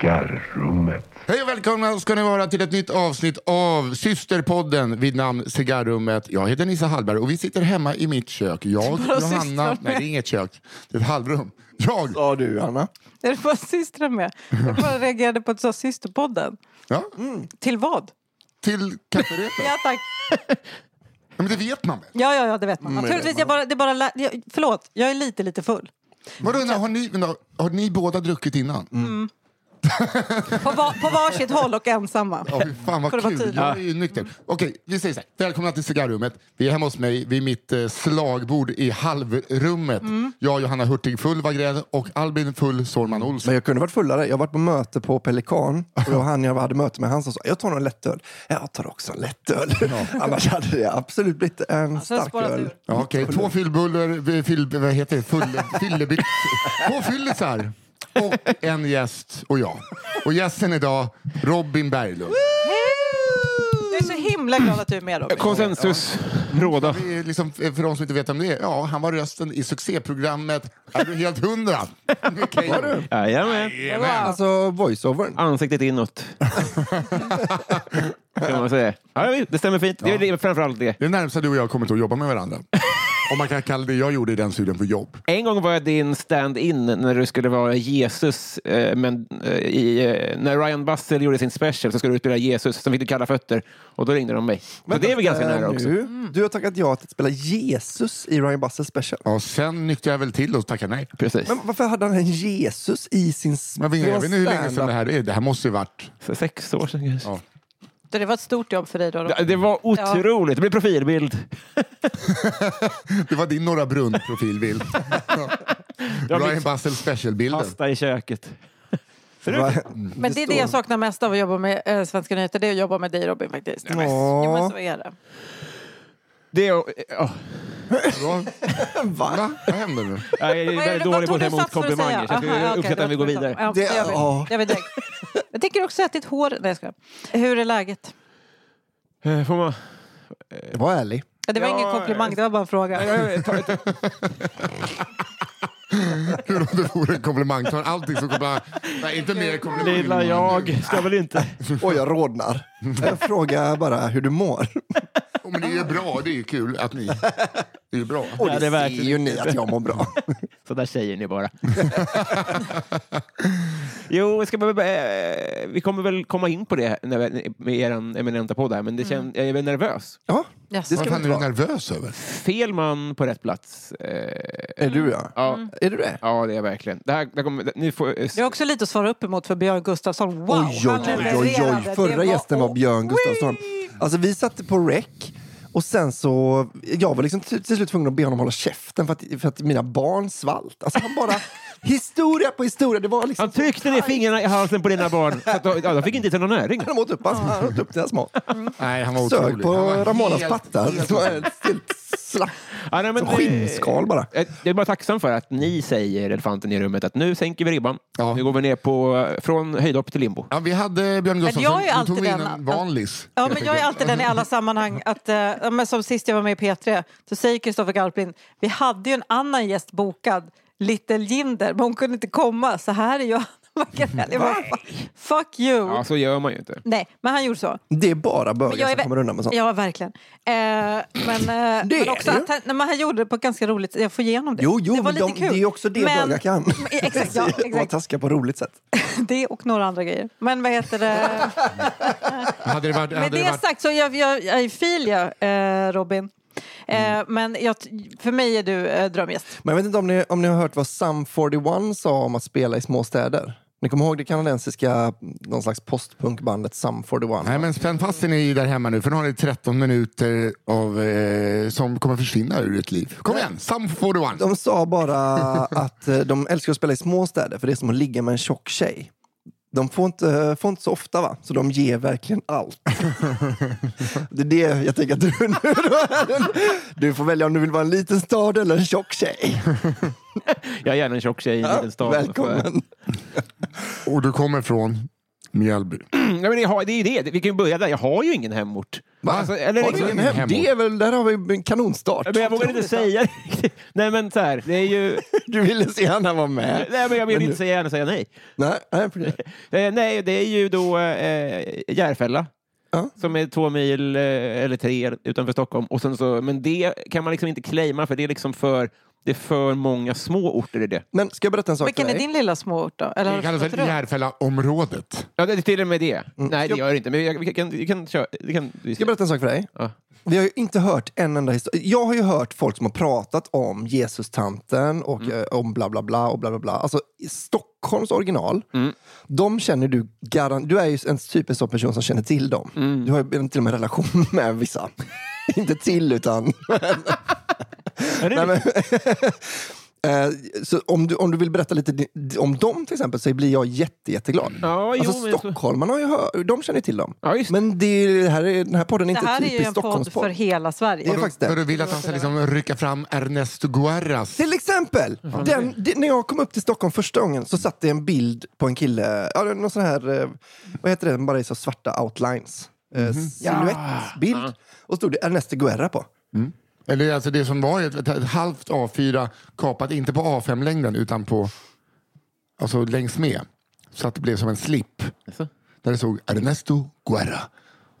Cigarrummet. Hej och välkomna ska ni vara till ett nytt avsnitt av systerpodden vid namn Cigarrummet. Jag heter Nissa Hallberg och vi sitter hemma i mitt kök. Jag, Bara Johanna... systrarna. Nej, det är inget kök. Det är ett halvrum. Jag! Sa du, Anna? Är det bara systrar med? Jag bara reagerade på att du sa systerpodden. Ja, Till vad? till kafferepet. Ja, tack. Ja, men det vet man väl? Ja, ja, ja det vet man. Mm, det vet Naturligtvis, man. jag bara, det är bara... lä- Jag, förlåt, jag är lite, lite full. Vadå, när har, ni, när, har ni båda druckit innan? På, va, på varsitt håll och ensamma. Ja, fy fan vad För det var kul. tid. Jag är ju nykter. Okej, vi säger så här. Välkomna till cigarrummet. Vi är hemma hos mig vid mitt eh, slagbord i halvrummet. Mm. Jag, Johanna Hurtig Full Wagrell och Albin Full Sårman Olsson. Men jag kunde varit fullare. Jag har varit på möte på Pelikan. Och då han jag hade möte med, han som sa jag tar nog en lättöl. Jag tar också en lättöl. Annars hade det absolut blivit en så stark sparar öl. du. Ja, okej. Två fyllbuller, fyll, vad heter det? Full, fyllebi- Två fyllisar och en gäst och jag. Och gästen idag, Robin Berglund. Jag är så himla glad att du är med, Robin. Konsensus råda. Det är liksom, för de som inte vet vem det är, ja, han var rösten i succéprogrammet Är du helt hundra? Okay. Var du? Jajamän. Wow. Alltså voiceovern. Ansiktet inåt. kan man säga. Ja, visst, det stämmer fint. Det är det- framförallt det. Det är närmsta du och jag kommit att jobba med varandra. Om man kan kalla det jag gjorde i den studien för jobb. En gång var jag din stand-in när du skulle vara Jesus. eh, Men eh, i, eh, när Ryan Bussell gjorde sin special så skulle du spela Jesus. Sen fick du kalla fötter och då ringde de mig. Så det är väl ganska Eh, nära också. Nu, Du har tackat ja till att spela Jesus i Ryan Bussels special. Ja, sen nyktrade jag väl till och tackade nej. Precis. Men varför hade han en Jesus i sin Men jag vet inte- jag vet inte hur länge sedan stand-up? det här är. Det här måste ju varit... Så Sex år sedan kanske. Ja. Det var ett stort jobb för dig då, Robin. Det- Det var otroligt. Det blev profilbild. Det var din Norra Brunn-profilbild. Jag Ryan fick Bussell specialbilden. pasta i köket. Men det är det jag saknar mest av att jobba med eh, Svenska nyheter. Det är att jobba med dig, Robin, faktiskt. Jo, men Ja, så är det. Det är, ja. Va? Va? Vad händer nu? jag är Vad är det- väldigt vad dålig tror på att du ta emot satt för att säga? komplimanger. Så jag skulle Aha, ja, okej, uppskatta om vi då går ska ta- vidare. Ja, Det- jag, vet, ja. jag, vet direkt. jag tänker också att ditt hår... Nej, jag skojar. Hur är läget? Eh, Får man... var ärlig. Ja, Det var Ja, ingen komplimang, det var bara en fråga. Hur om det vore en komplimang. Tar allting som kommer... Nej, inte mer komplimang. Mm. Lilla jag ska väl inte... Oj, jag rodnar. Jag frågar bara hur du mår. Jo, men det är ju bra. Det är ju kul att ni... Det är ju bra. Och Ja, det, det är ser verkligen- ju ni att jag mår bra. Så där säger ni bara. jo, ska man, eh, vi kommer väl komma in på det när vi, med er eminenta podd här, men det Mm. kän, jag är väl nervös. Ja, Yes. det ska Vad vi fan inte är du vara. nervös över? Fel man på rätt plats. Eh, Är du ja? ja, Mm. Är du det? ja, det är jag verkligen. Det här, det här kommer, nu får, eh, Det är också lite att svara upp emot för Björn Gustafsson. Wow, Oj, oj, han oj, oj, levererade. Det oj. Förra gästen var Björn Oj. Gustafsson. Alltså vi satte på rec och sen så, jag var liksom till, till slut tvungen att be honom hålla käften för att, för att mina barn svalt. Alltså han bara, historia på historia. Det var liksom, han tryckte ner fingrarna i halsen på dina barn. Så att, de- ja, de fick inte till någon näring. han åt upp, hans- han åt upp deras mat. Mm. Nej, han var Sög otrolig. på Han var Ramonas helt- pattar. helt- Det var helt slapp. Ja, nej, men Som det- skinnskal bara. Jag jag är bara tacksam för att ni säger, elefanten i rummet, att nu sänker vi ribban. Ja. Nu går vi ner på, från höjdhopp till limbo. Ja, vi hade Björn Gustafsson. jag är Nu alltid tog vi in den- en vanlis. Ja, helt men jag är enkelt. alltid den i alla sammanhang. Att, eh, ja, men som sist jag var med i P3 så säger Kristoffer Garplind, vi hade ju en annan gäst bokad, Little Jinder, men hon kunde inte komma. Så här är jag. Jag bara, Fuck you. Ja, så gör man ju inte. Nej, men han gjorde så. Det är bara Men bögar jag är som vä- kommer undan med sånt. Ja, verkligen. Eh, men, eh, Det men är också det ju. att han, nej, men han gjorde det på ett ganska roligt Jag får igenom det. Jo, jo, det var men lite de, kul. det är ju också det men, bögar kan. Men- Exakt, ja, Vara exakt. taskiga på roligt sätt. Det och några andra grejer. Men vad heter det? Hade det varit... Hade Med det det varit... sagt så jag, jag, jag är fil jag, eh, Robin. Eh, Mm. Men jag, för mig är du eh, drömgäst. Men jag vet inte om ni, om ni har hört vad Sum 41 sa om att spela i småstäder? Ni kommer ihåg det kanadensiska, någon slags postpunkbandet Sum 41? Nej, men spänn fast er ni där hemma nu, för nu har ni 13 minuter av, eh, som kommer försvinna ur ert liv. Kom igen, Sam 41. De sa bara att eh, de älskar att spela i småstäder för det är som att ligga med en tjock tjej. De får inte, får inte så ofta va, så de ger verkligen allt. Det är det jag tänker att du nu då är en- Du får välja om du vill vara en liten stad eller en tjock tjej. Jag är gärna en tjock tjej i en liten stad. Välkommen. Och du kommer från? Mjällby. Ja, men jag har, det är ju det. Vi kan ju börja där. Jag har ju ingen hemort. Va? eller, Har Har du du liksom- ingen ingen hem? Det är väl, där har vi en kanonstart. men jag vågar inte säga riktigt. Nej, men så här. Det är ju... Du ville se han vara med. Nej, men jag vill Men inte du- säga gärna säga nej. Nej, nej, för det. Eh, nej, det är ju då eh, Järfälla. Ja. Som är två mil eh, eller tre utanför Stockholm. Och sen så, men det kan man liksom inte claima för det är liksom för, det är för många små orter i det. Men ska jag berätta en sak Vilken för är dig? din lilla småort då? Eller har Det du kallas flyttat väl runt? Järfällaområdet? Ja, det är till och med Mm. det. Nej, det gör det inte. Men jag, vi kan, vi kan köra. Vi kan, vi Ska jag berätta en sak för dig? Ja. Vi har ju inte hört en enda historia. Jag har ju hört folk som har pratat om Jesus-tanten och eh, om bla bla bla och bla bla bla. Alltså i Stockholms original, de känner du garant... Du är ju en typ en sån person som känner till dem. Du har ju till och med en relation med vissa. inte till, utan... Ja, det är Nej, men, eh, så om, du, om du vill berätta lite di- om dem till exempel så blir jag jätte, jätteglad. Ja, jo, alltså, men så- Stockholmarna har ju hör, de känner till dem. Ja, just det. men det är, det här är, den här podden är Det här inte typ är ju typisk en podd Stockholmspodd. för hela Sverige. Det är faktiskt För det. du vill att han ska liksom rycka fram Ernesto Guerras. Till exempel, den, det- när jag kom upp till Stockholm första gången så satt det en bild på en kille, ja, det var någon sån här, eh, vad heter det, bara i så svarta outlines. Mhm. Mm. Silhuettbild. Och stod det Ernesto Guerra på. Eller alltså det som var ett, ett halvt A4 kapat, inte på A5-längden utan på, alltså längs med. Så att det blev som en slip. Där det stod Ernesto Guerra.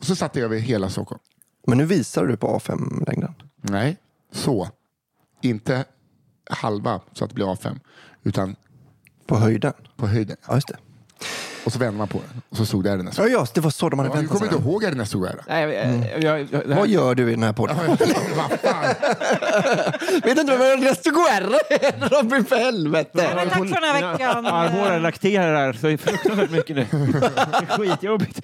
Och så satt det över hela Stockholm. Men nu visar du på A5-längden. Nej, så. Inte halva så att det blev A5. Utan På höjden. på höjden. Ja, just det. Och så vände man på den. Och så stod det Ernesto. Ja, just det var så de hade Ja, du väntat kommer sig inte den. ihåg Ernesto Guerra? Nej, jag, jag, jag, jag, det här, Mm. Vad gör du i den här podden? Vad fan? Vet inte vem Ernesto Guerra är? Robin, för Ja, helvete! men tack för den här mina veckan. Eh, Armhålor lakterar så fruktansvärt mycket nu. Det är skitjobbigt.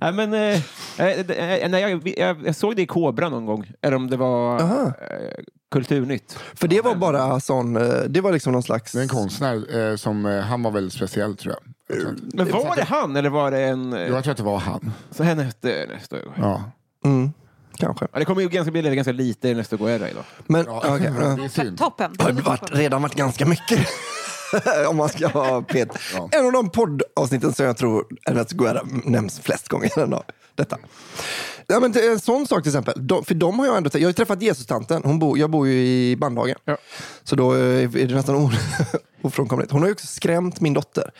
Nej, men, eh, eh, eh, nej, jag, jag, jag såg det i Kobra någon gång, eller om det var Aha. eh, Kulturnytt. För det var bara sån, eh, det var liksom någon slags... Det är en konstnär eh, som, eh, han var väldigt speciell tror jag. Jag tror att- Men var det han eller var det en... eh, Jag tror att det var han. Så här nästa, nästa gång. Ja. Ja. Mm, kanske. det kommer ju ganska, bli ganska lite nästa gång idag. Men Ja, okej, ja. Det är synd. Toppen. Det har varit, redan varit ganska mycket. Om man ska vara pet. En av de poddavsnitten som jag tror Ernesto Guerra nämns flest gånger. Ändå, detta. Ja, men det är en sån sak till exempel. De, för de har jag ändå Jag har ju träffat Jesus-tanten. Hon bor, jag bor ju i Bandhagen. Ja. Så då eh, är det nästan o- ofrånkomligt. Hon har ju också skrämt min dotter.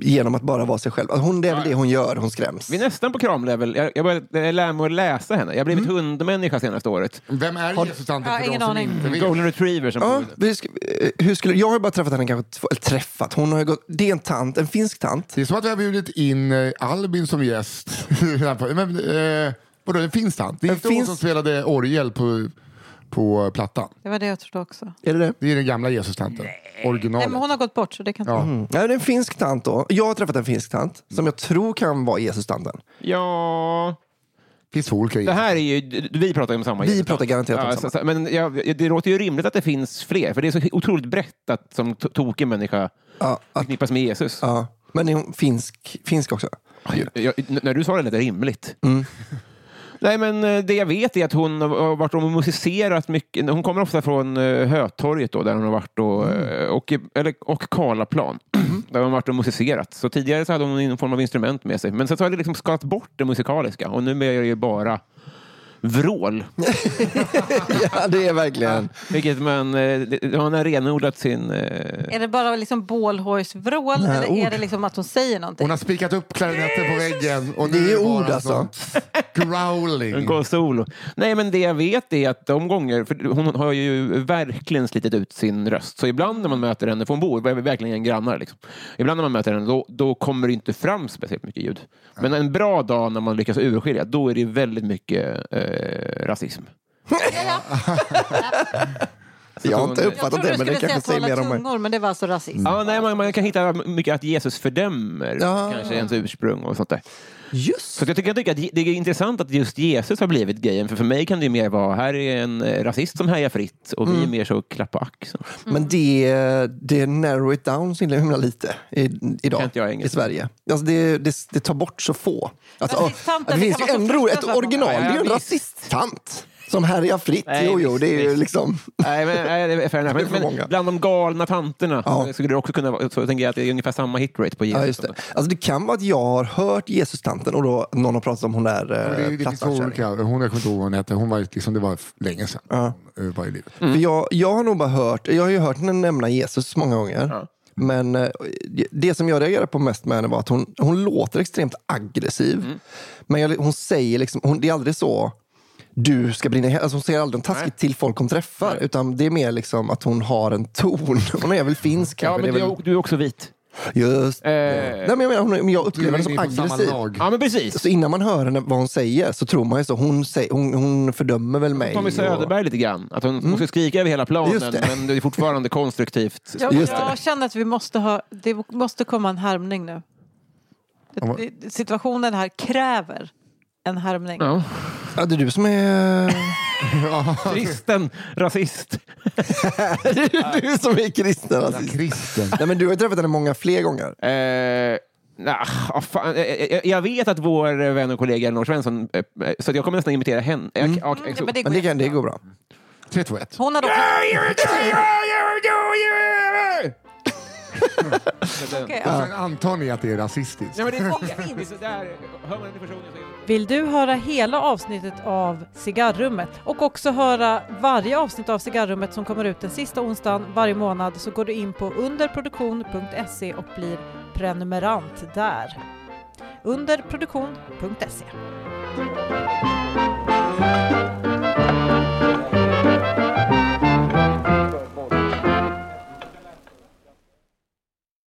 Genom att bara vara sig själv. Alltså, hon, det är väl det hon gör. Hon skräms. Vi är nästan på kramlevel. Jag, jag började lära mig att läsa henne. Jag har blivit Mm. hundmänniska senaste året. Vem är Jesus-tanten Ja, för ingen de som aning. inte vet? Golden retriever som Ja, bor- vi sk- eh, hur skulle, jag har ju bara träffat henne kanske två, eller träffat. Hon har ju gått, det är en tant, en finsk tant. Det är som att vi har bjudit in eh, Albin som gäst. Men, eh, vadå, en finsk tant? Det är En inte hon finsk- som spelade orgel på, på plattan. Det var det jag trodde också. Är det det? Det är den gamla Jesus-tanten. Nej, Originalet. men hon har gått bort så det kan Ja. inte... Nej, Mm. det är en finsk tant då. Jag har träffat en finsk tant Mm. som jag tror kan vara Jesus-tanten. Ja... Finns två olika Det Jesus. här är ju, d- vi pratar ju om samma. Vi Jesus. pratar garanterat om ja, samma. så- så- Men ja, det låter ju rimligt att det finns fler, för det är så otroligt brett att som to- tokig människa Ja, att, förknippas med Jesus. ja. Men är hon finsk, finsk också? Jag, n- när du sa det lät det rimligt. Nej, men eh, det jag vet är att hon har varit och musicerat mycket. Hon kommer ofta från eh, Hötorget då, där hon har varit och, eh, och, eller, och Karlaplan, där hon har varit och musicerat. Så tidigare så hade hon någon form av instrument med sig, men sen så har det liksom skalat bort det musikaliska och nu är det ju bara vrål. Ja, det är verkligen... Vilket man, eh, det- hon har renodlat sin... eh, Är det bara liksom bålhojsvrål Nej, eller är ord. det liksom att hon säger någonting? Hon har spikat upp klarinetten på väggen. Och nu Det är bara ord, alltså. sånt Growling. En solo. Nej, men det jag vet är att de gånger, för hon har ju verkligen slitit ut sin röst, så ibland när man möter henne, för hon bor verkligen grannar, liksom. ibland när man möter henne då, då kommer det inte fram speciellt mycket ljud. Men en bra dag när man lyckas urskilja, då är det väldigt mycket eh, rasism. Så Jag har hon- inte Jag uppfattat trodde Ah, det, du men det skulle säga kanske säger mer tala om mig. tungor, men det var alltså rasism. Ja, nej, man, man kan hitta mycket att Jesus fördömer Ja. kanske ens ursprung och sånt där. Just Så att jag tycker, jag tycker att je- det är intressant att just Jesus har blivit grejen. För för mig kan det ju mer vara, här är en eh, rasist som härjar fritt och vi är mer så klapp på axeln. Men det, det narrow it down så himla, himla lite i, Kan idag inte jag engelska. i Sverige. Alltså det, det, det tar bort så få. Alltså, Rasisttanten, det det finns kan ju vara så en rolig, ett fruktansvärt många. original, det är ju Ja, en ja, rasisttant. Som härjar fritt. Nej, jo, jo, visst, det är ju visst. liksom... Nej, men, nej, det är fair enough. Det är för Men- många. men bland de galna tanterna Ja. så skulle det också kunna vara, så tänker jag att det är ungefär samma hitrate på Jesus. Ja, just det. Alltså, det kan vara att jag har hört Jesus-tanten och då någon har pratat om hon där Men Det, eh, det finns två plastavkärringen. olika. Hon, jag kommer inte ihåg vad hon hette. Hon var liksom, det var f- länge sedan. Hon eh, var i livet. Mm. För jag, jag har nog bara hört, jag har ju hört henne nämna Jesus många gånger. Ja. Men eh, det som jag reagerade på mest med henne var att hon, hon låter extremt aggressiv. Mm. Men jag, hon säger liksom, hon, det är aldrig så du ska brinna i hel-" alltså Hon säger aldrig något taskigt till folk hon träffar. Utan det är mer liksom att hon har en ton. Hon är väl finsk Ja, kanske. men det du, är väl, är- du är också vit. just, Eh, nej, men jag, menar, hon, men jag Du upplever är henne inne som på samma aggressiv. lag. Ja, men precis. Så innan man hör henne, vad hon säger så tror man ju så. Hon, säger, hon, hon fördömer väl mig. Tommy och- Söderberg lite grann. Att hon måste skrika över hela planen, Mm. Just det. men det är fortfarande konstruktivt. Jag, Just det. jag känner att vi måste ha, det måste komma en härmning nu. Det- vad- det- Situationen här kräver en härmning. Mm, Ja. Ja, det är du som är... Kristen rasist. det är du som är kristen rasist. Kristen. Nej, men du har ju träffat henne många fler gånger. Eh, nah, ah, fan, eh, eh, jag vet att vår eh, vän och kollega Elinor Svensson, eh, eh, så att jag kommer nästan imitera henne. Eh, Mm. ah, Ja, eh, så- Mm, men det Men går det, kan, jättebra. det går bra. 3, 2, 1. Hon hade också... Okej, alltså, ja. Sen antar ni att det är rasistiskt. Nej, men det är så fint. Det är så där, hör man den personen så är det- Vill du höra hela avsnittet av Cigarrummet och också höra varje avsnitt av Cigarrummet som kommer ut den sista onsdagen varje månad så går du in på underproduktion.se och blir prenumerant där. Underproduktion.se